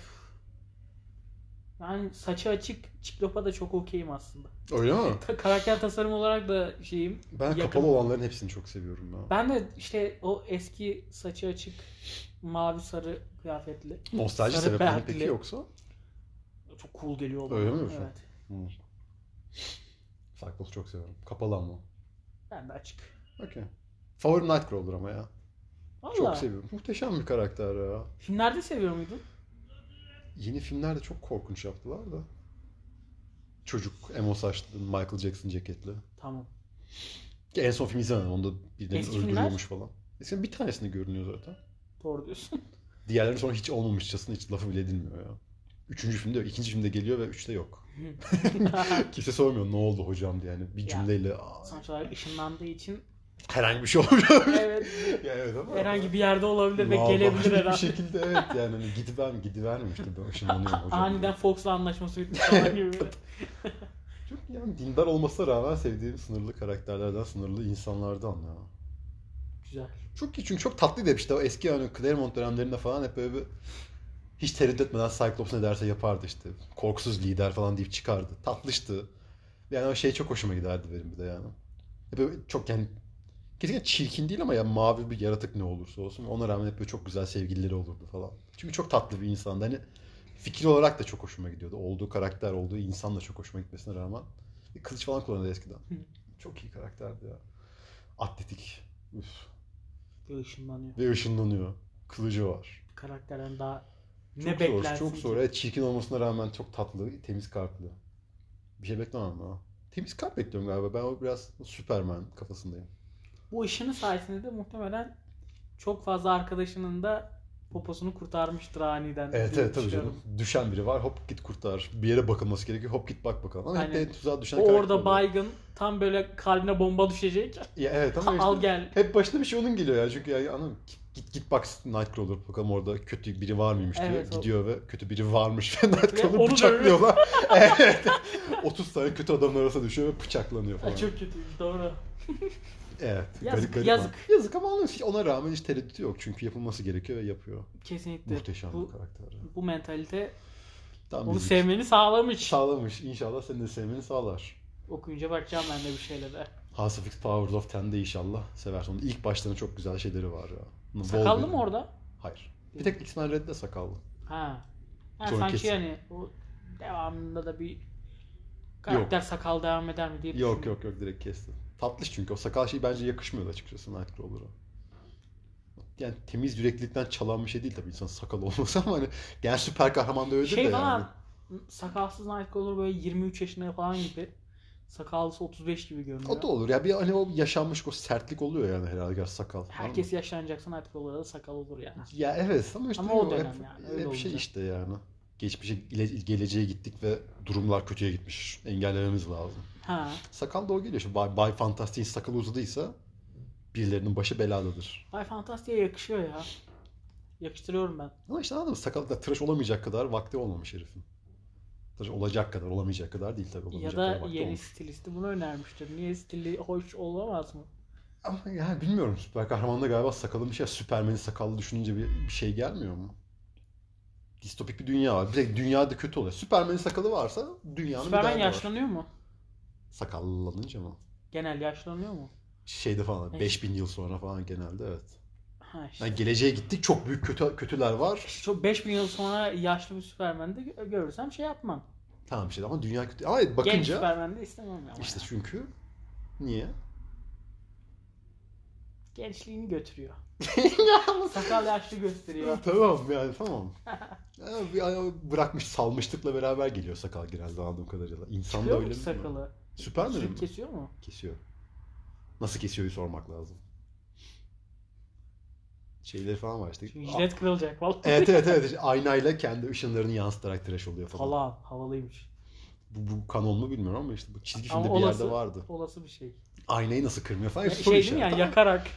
[SPEAKER 2] yani saçı açık Çiklopa da çok okeyim aslında.
[SPEAKER 1] Öyle mi?
[SPEAKER 2] [laughs] Ka- karakter tasarım olarak da şeyim.
[SPEAKER 1] Ben
[SPEAKER 2] Yakın.
[SPEAKER 1] kapalı olanların hepsini çok seviyorum ya.
[SPEAKER 2] Ben de işte o eski saçı açık mavi sarı kıyafetli.
[SPEAKER 1] Nostalji
[SPEAKER 2] Sarı
[SPEAKER 1] sebepleri
[SPEAKER 2] Bertli.
[SPEAKER 1] peki yoksa?
[SPEAKER 2] Çok cool geliyor bana.
[SPEAKER 1] Öyle mi?
[SPEAKER 2] Evet.
[SPEAKER 1] Hmm. Cyclops çok seviyorum. Kapalı ama.
[SPEAKER 2] Ben de açık.
[SPEAKER 1] Okey. Favorim Nightcrawler ama ya. Çok
[SPEAKER 2] Valla.
[SPEAKER 1] seviyorum. Muhteşem bir karakter ya.
[SPEAKER 2] Filmlerde seviyor muydun?
[SPEAKER 1] Yeni filmlerde çok korkunç yaptılar da. Çocuk emo saçlı, Michael Jackson ceketli.
[SPEAKER 2] Tamam.
[SPEAKER 1] Ki En son film izlemedim. Onda birilerini
[SPEAKER 2] Eski
[SPEAKER 1] öldürüyormuş falan. Eskiden bir tanesini görünüyor zaten. [laughs]
[SPEAKER 2] Doğru diyorsun.
[SPEAKER 1] Diğerleri sonra hiç olmamışçasına hiç lafı bile edilmiyor ya. Üçüncü filmde, ikinci filmde geliyor ve üçte yok. Kimse sormuyor ne oldu hocam diye. Yani bir
[SPEAKER 2] Ya,
[SPEAKER 1] cümleyle "Aa,
[SPEAKER 2] Sonuç olarak ışınlandığı için
[SPEAKER 1] herhangi bir şey [laughs] olmuyor.
[SPEAKER 2] evet.
[SPEAKER 1] yani evet ama
[SPEAKER 2] Herhangi bir yerde olabilir ve
[SPEAKER 1] Vallahi şey
[SPEAKER 2] gelebilir
[SPEAKER 1] Bir
[SPEAKER 2] herhalde.
[SPEAKER 1] şekilde evet yani hani gidiver, gidivermiş gibi
[SPEAKER 2] [laughs]
[SPEAKER 1] ışınlanıyorum hocam.
[SPEAKER 2] Aniden Fox'la anlaşması bitmiş falan gibi.
[SPEAKER 1] [laughs]
[SPEAKER 2] böyle.
[SPEAKER 1] Çok yani dindar olmasına rağmen sevdiğim sınırlı karakterlerden, sınırlı insanlardan ya.
[SPEAKER 2] Güzel.
[SPEAKER 1] Çok iyi çünkü çok tatlıydı hep işte o eski hani Claremont dönemlerinde falan hep böyle bir hiç tereddüt etmeden Cyclops ne derse yapardı işte. Korkusuz lider falan deyip çıkardı. Tatlıştı. Yani o şey çok hoşuma giderdi benim bir de yani. Hep böyle çok yani kesinlikle çirkin değil ama ya mavi bir yaratık ne olursa olsun. Ona rağmen hep böyle çok güzel sevgilileri olurdu falan. Çünkü çok tatlı bir insandı. Hani fikir olarak da çok hoşuma gidiyordu. Olduğu karakter, olduğu insan da çok hoşuma gitmesine rağmen. Bir kılıç falan kullanıyordu eskiden.
[SPEAKER 2] Hı.
[SPEAKER 1] Çok iyi karakterdi ya. Atletik. Üf.
[SPEAKER 2] Böyle ışınlanıyor.
[SPEAKER 1] Ve ışınlanıyor. Kılıcı var.
[SPEAKER 2] Karakterden daha
[SPEAKER 1] Çok
[SPEAKER 2] ne
[SPEAKER 1] zor,
[SPEAKER 2] beklersin
[SPEAKER 1] Çok
[SPEAKER 2] ki?
[SPEAKER 1] zor. Evet, çirkin olmasına rağmen çok tatlı, temiz kalpli. Bir şey beklemem ha. Temiz kalp bekliyorum galiba. Ben o biraz Superman kafasındayım.
[SPEAKER 2] Bu ışını sayesinde de muhtemelen çok fazla arkadaşının da poposunu kurtarmıştır aniden.
[SPEAKER 1] Evet
[SPEAKER 2] diye
[SPEAKER 1] evet tabii
[SPEAKER 2] düşünüyorum.
[SPEAKER 1] canım. Düşen biri var. Hop git kurtar. Bir yere bakılması gerekiyor. Hop git bak bakalım. Ama hep
[SPEAKER 2] Aynen.
[SPEAKER 1] de tuzağa düşen
[SPEAKER 2] O
[SPEAKER 1] karakter
[SPEAKER 2] orada
[SPEAKER 1] oluyor.
[SPEAKER 2] baygın tam böyle kalbine bomba düşecek.
[SPEAKER 1] Ya evet ama işte
[SPEAKER 2] [laughs] Al gel.
[SPEAKER 1] hep başına bir şey onun geliyor ya. Çünkü ya anam git git bak Nightcrawler bakalım orada kötü biri var mıymış diyor.
[SPEAKER 2] Evet, o-
[SPEAKER 1] Gidiyor ve kötü biri varmış ve [laughs]
[SPEAKER 2] Ve onu
[SPEAKER 1] Nightcrawler bıçaklıyorlar. [laughs] evet. 30 tane kötü adamın arasına düşüyor ve bıçaklanıyor falan.
[SPEAKER 2] Ay, çok kötü. Doğru.
[SPEAKER 1] Evet.
[SPEAKER 2] Yazık,
[SPEAKER 1] garip, garip
[SPEAKER 2] yazık.
[SPEAKER 1] ama- Yazık ama onun- ona rağmen hiç tereddütü yok. Çünkü yapılması gerekiyor ve yapıyor.
[SPEAKER 2] Kesinlikle.
[SPEAKER 1] Muhteşem bir
[SPEAKER 2] bu,
[SPEAKER 1] karakter. ya.
[SPEAKER 2] bu mentalite
[SPEAKER 1] Tam
[SPEAKER 2] onu
[SPEAKER 1] bizim-
[SPEAKER 2] sevmeni sağlamış.
[SPEAKER 1] sağlamış. İnşallah senin de sevmeni sağlar.
[SPEAKER 2] Okuyunca bakacağım ben de bir şeylere.
[SPEAKER 1] House of X Powers of Ten'de inşallah seversin. Onun ilk başlarında çok güzel şeyleri var ya. Bol
[SPEAKER 2] Sakallı
[SPEAKER 1] verim.
[SPEAKER 2] mı orada?
[SPEAKER 1] Hayır. Bir tek X-Men Red'de sakallı.
[SPEAKER 2] Ha. Ha,
[SPEAKER 1] Sonra
[SPEAKER 2] sanki
[SPEAKER 1] kesin.
[SPEAKER 2] yani o devamında da bir karakter sakal devam eder mi diye
[SPEAKER 1] Yok
[SPEAKER 2] düşündüm.
[SPEAKER 1] yok yok direkt kesti. Tatlış çünkü o sakal şey bence yakışmıyor açıkçası Nightcrawler'a. Yani temiz yüreklilikten çalan bir şey değil tabii insan sakal olmasa ama hani genel süper kahraman da öyle
[SPEAKER 2] Şey
[SPEAKER 1] de yani.
[SPEAKER 2] falan sakalsız Nightcrawler böyle 23 yaşında falan gibi. Sakallısı 35 gibi görünüyor.
[SPEAKER 1] O da olur ya bir hani o yaşanmış o sertlik oluyor yani herhalde gerçi sakal. falan.
[SPEAKER 2] Herkes yaşlanacaksa Nightcrawler'a da sakal olur yani.
[SPEAKER 1] Ya evet ama işte
[SPEAKER 2] Ama o
[SPEAKER 1] yok,
[SPEAKER 2] dönem
[SPEAKER 1] hep,
[SPEAKER 2] yani,
[SPEAKER 1] hep
[SPEAKER 2] öyle
[SPEAKER 1] şey
[SPEAKER 2] olunca.
[SPEAKER 1] işte yani. Geçmişe ile- geleceğe gittik ve durumlar kötüye gitmiş. Engellememiz lazım.
[SPEAKER 2] Ha.
[SPEAKER 1] Sakal da o geliyor. Şimdi Bay, Bay Fantastik'in sakalı uzadıysa birilerinin başı beladadır.
[SPEAKER 2] Bay Fantastia'ya yakışıyor ya. Yakıştırıyorum ben.
[SPEAKER 1] Ama işte anladın mı? Sakal da tıraş olamayacak kadar vakti olmamış herifin. Tıraş olacak kadar, olamayacak kadar değil tabii. Olamayacak
[SPEAKER 2] ya da
[SPEAKER 1] kadar vakti
[SPEAKER 2] yeni
[SPEAKER 1] olmuş.
[SPEAKER 2] stilisti bunu önermiştir. Niye stili hoş olamaz mı?
[SPEAKER 1] Ama yani bilmiyorum. Süper kahramanda galiba sakalın bir şey. Süpermen'in sakallı düşününce bir, bir şey gelmiyor mu? Distopik bir dünya var. Bir de dünyada kötü oluyor. Süpermen'in sakalı varsa dünyanın bir
[SPEAKER 2] Superman
[SPEAKER 1] derdi var.
[SPEAKER 2] yaşlanıyor mu?
[SPEAKER 1] Sakallanınca mı?
[SPEAKER 2] Genel yaşlanıyor mu?
[SPEAKER 1] Şeyde falan
[SPEAKER 2] Evet.
[SPEAKER 1] 5000 yıl sonra falan genelde evet.
[SPEAKER 2] Ha işte.
[SPEAKER 1] Yani geleceğe gittik çok büyük kötü kötüler var.
[SPEAKER 2] Çok 5000 yıl sonra yaşlı bir Superman'de gö- görürsem şey yapmam.
[SPEAKER 1] Tamam işte ama dünya kötü. Ama
[SPEAKER 2] Genç
[SPEAKER 1] bakınca
[SPEAKER 2] Superman'de istemem ama.
[SPEAKER 1] işte
[SPEAKER 2] ya.
[SPEAKER 1] çünkü niye?
[SPEAKER 2] [laughs] Gençliğini götürüyor. Sakal yaşlı gösteriyor.
[SPEAKER 1] tamam yani
[SPEAKER 2] [laughs]
[SPEAKER 1] tamam. Ya, bir ay- bırakmış salmışlıkla beraber geliyor sakal genelde anladığım kadarıyla. İnsan da
[SPEAKER 2] Çıkıyor
[SPEAKER 1] öyle
[SPEAKER 2] mu
[SPEAKER 1] mi?
[SPEAKER 2] sakalı?
[SPEAKER 1] Süpermen mi?
[SPEAKER 2] Sürüp kesiyor mu?
[SPEAKER 1] Kesiyor. Nasıl kesiyor sormak lazım. Şeyleri falan var işte.
[SPEAKER 2] Çünkü jilet kırılacak falan.
[SPEAKER 1] Evet evet evet. İşte Aynayla kendi ışınlarını yansıtarak tıraş oluyor falan.
[SPEAKER 2] Falan havalıymış.
[SPEAKER 1] Bu, bu kanon mu bilmiyorum ama işte bu çizgi
[SPEAKER 2] Ama
[SPEAKER 1] filmde bir
[SPEAKER 2] olası-
[SPEAKER 1] yerde vardı.
[SPEAKER 2] Olası bir şey.
[SPEAKER 1] Aynayı nasıl kırmıyor falan.
[SPEAKER 2] Ya,
[SPEAKER 1] hep soru
[SPEAKER 2] şey değil mi
[SPEAKER 1] işareti.
[SPEAKER 2] yani yakarak.
[SPEAKER 1] [laughs]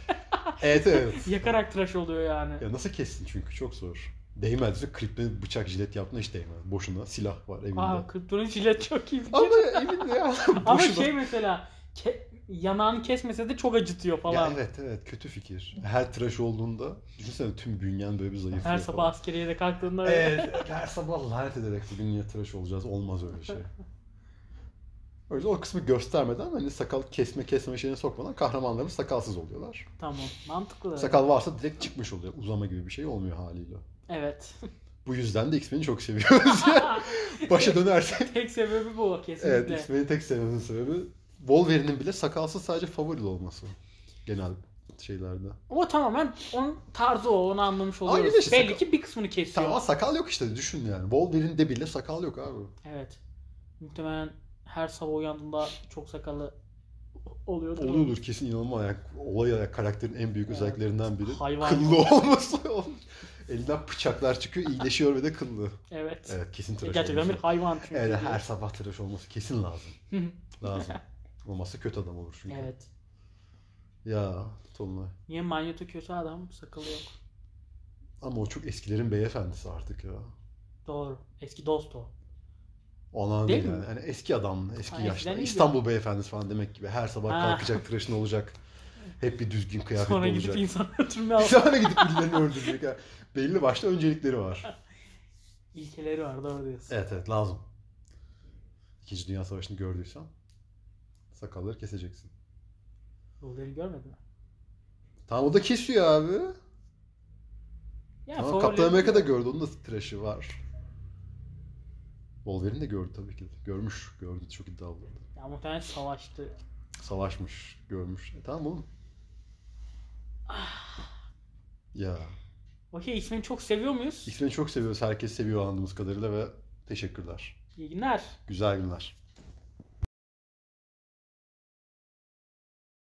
[SPEAKER 1] Evet evet.
[SPEAKER 2] [laughs] yakarak tıraş oluyor yani.
[SPEAKER 1] Ya nasıl kessin çünkü çok zor. Değmez. Kripte bıçak jilet yaptığına hiç değmez. Boşuna silah var evinde.
[SPEAKER 2] Aa kriptonun jilet çok iyi. bir şey.
[SPEAKER 1] Ama evinde ya. [laughs]
[SPEAKER 2] Ama
[SPEAKER 1] boşuna.
[SPEAKER 2] şey mesela ke- yanağını kesmese de çok acıtıyor
[SPEAKER 1] Ya
[SPEAKER 2] falan.
[SPEAKER 1] evet evet kötü fikir. Her tıraş olduğunda düşünsene tüm bünyen böyle bir zayıflıyor şey
[SPEAKER 2] Her
[SPEAKER 1] falan. Ee,
[SPEAKER 2] sabah askeriye de kalktığında öyle.
[SPEAKER 1] Evet, her sabah lanet ederek bugün niye tıraş olacağız olmaz öyle
[SPEAKER 2] [laughs]
[SPEAKER 1] şey. O yüzden o kısmı göstermeden hani sakal kesme kesme şeyine sokmadan kahramanlarımız sakalsız oluyorlar.
[SPEAKER 2] Tamam mantıklı.
[SPEAKER 1] Sakal varsa direkt çıkmış oluyor. Uzama gibi bir şey olmuyor haliyle. [laughs]
[SPEAKER 2] Evet. [laughs]
[SPEAKER 1] Bu yüzden de X-Men'i çok seviyoruz. Başa dönersek.
[SPEAKER 2] Tek sebebi bu kesinlikle.
[SPEAKER 1] evet X-Men'i tek sevmemin sebebi Wolverine'in bile sakalsız sadece favori olması. Genel şeylerde.
[SPEAKER 2] Ama tamamen onun tarzı o. Onu anlamış
[SPEAKER 1] Aynen
[SPEAKER 2] oluyoruz.
[SPEAKER 1] işte,
[SPEAKER 2] Belli
[SPEAKER 1] sakal-
[SPEAKER 2] ki bir kısmını kesiyor.
[SPEAKER 1] Tamam Şey, sakal yok işte düşün yani. Wolverine'de bile sakal yok abi.
[SPEAKER 2] Evet. Muhtemelen her sabah uyandığında çok sakallı oluyordur.
[SPEAKER 1] Oluyordur kesin inanılmaz. Yani olay yani karakterin en büyük
[SPEAKER 2] Evet.
[SPEAKER 1] özelliklerinden biri.
[SPEAKER 2] Hayvan.
[SPEAKER 1] Kıllı olması. [laughs] Elinden bıçaklar çıkıyor, iyileşiyor ve de kıllı.
[SPEAKER 2] Evet.
[SPEAKER 1] Evet kesin tıraş
[SPEAKER 2] Gerçekten bir
[SPEAKER 1] olması.
[SPEAKER 2] hayvan çünkü.
[SPEAKER 1] Evet her sabah tıraş olması kesin lazım.
[SPEAKER 2] [laughs] Hı hı.
[SPEAKER 1] Lazım. Olmazsa kötü adam olur çünkü.
[SPEAKER 2] evet.
[SPEAKER 1] Ya Tolunay.
[SPEAKER 2] Niye Magneto kötü adam? Sakalı yok.
[SPEAKER 1] Ama o çok eskilerin beyefendisi artık ya.
[SPEAKER 2] Doğru. Eski dost o.
[SPEAKER 1] Ona
[SPEAKER 2] Değil
[SPEAKER 1] değil
[SPEAKER 2] mi?
[SPEAKER 1] yani. Hani eski adam, eski
[SPEAKER 2] Ha,
[SPEAKER 1] yaşlı.
[SPEAKER 2] eskiden iyiydi.
[SPEAKER 1] İstanbul beyefendisi falan demek gibi. Her sabah
[SPEAKER 2] Ha.
[SPEAKER 1] kalkacak, tıraşın
[SPEAKER 2] [laughs]
[SPEAKER 1] olacak. Hep bir düzgün kıyafetli
[SPEAKER 2] Sonra gidip
[SPEAKER 1] olacak.
[SPEAKER 2] insan
[SPEAKER 1] [laughs]
[SPEAKER 2] öldürme al.
[SPEAKER 1] Sonra gidip birilerini öldürecek. Yani belli başlı öncelikleri var.
[SPEAKER 2] İlkeleri var doğru diyorsun.
[SPEAKER 1] Evet evet lazım. İkinci Dünya Savaşı'nı gördüysen sakalları keseceksin.
[SPEAKER 2] Rolleri görmedin mi?
[SPEAKER 1] Tamam o da kesiyor abi.
[SPEAKER 2] Ya
[SPEAKER 1] Tamam,
[SPEAKER 2] favorilerim-
[SPEAKER 1] Kaptan Amerika'da gördü. Onun da tıraşı var. Wolverine de gördü tabii ki. Görmüş. Gördü. Çok iddialı.
[SPEAKER 2] Ya muhtemelen savaştı.
[SPEAKER 1] Savaşmış. Görmüş. E, tamam oğlum. Ah. Ya.
[SPEAKER 2] Okey X-Men'i çok seviyor muyuz?
[SPEAKER 1] X-Men'i çok seviyoruz. Herkes seviyor anladığımız kadarıyla ve teşekkürler.
[SPEAKER 2] İyi günler.
[SPEAKER 1] Güzel günler.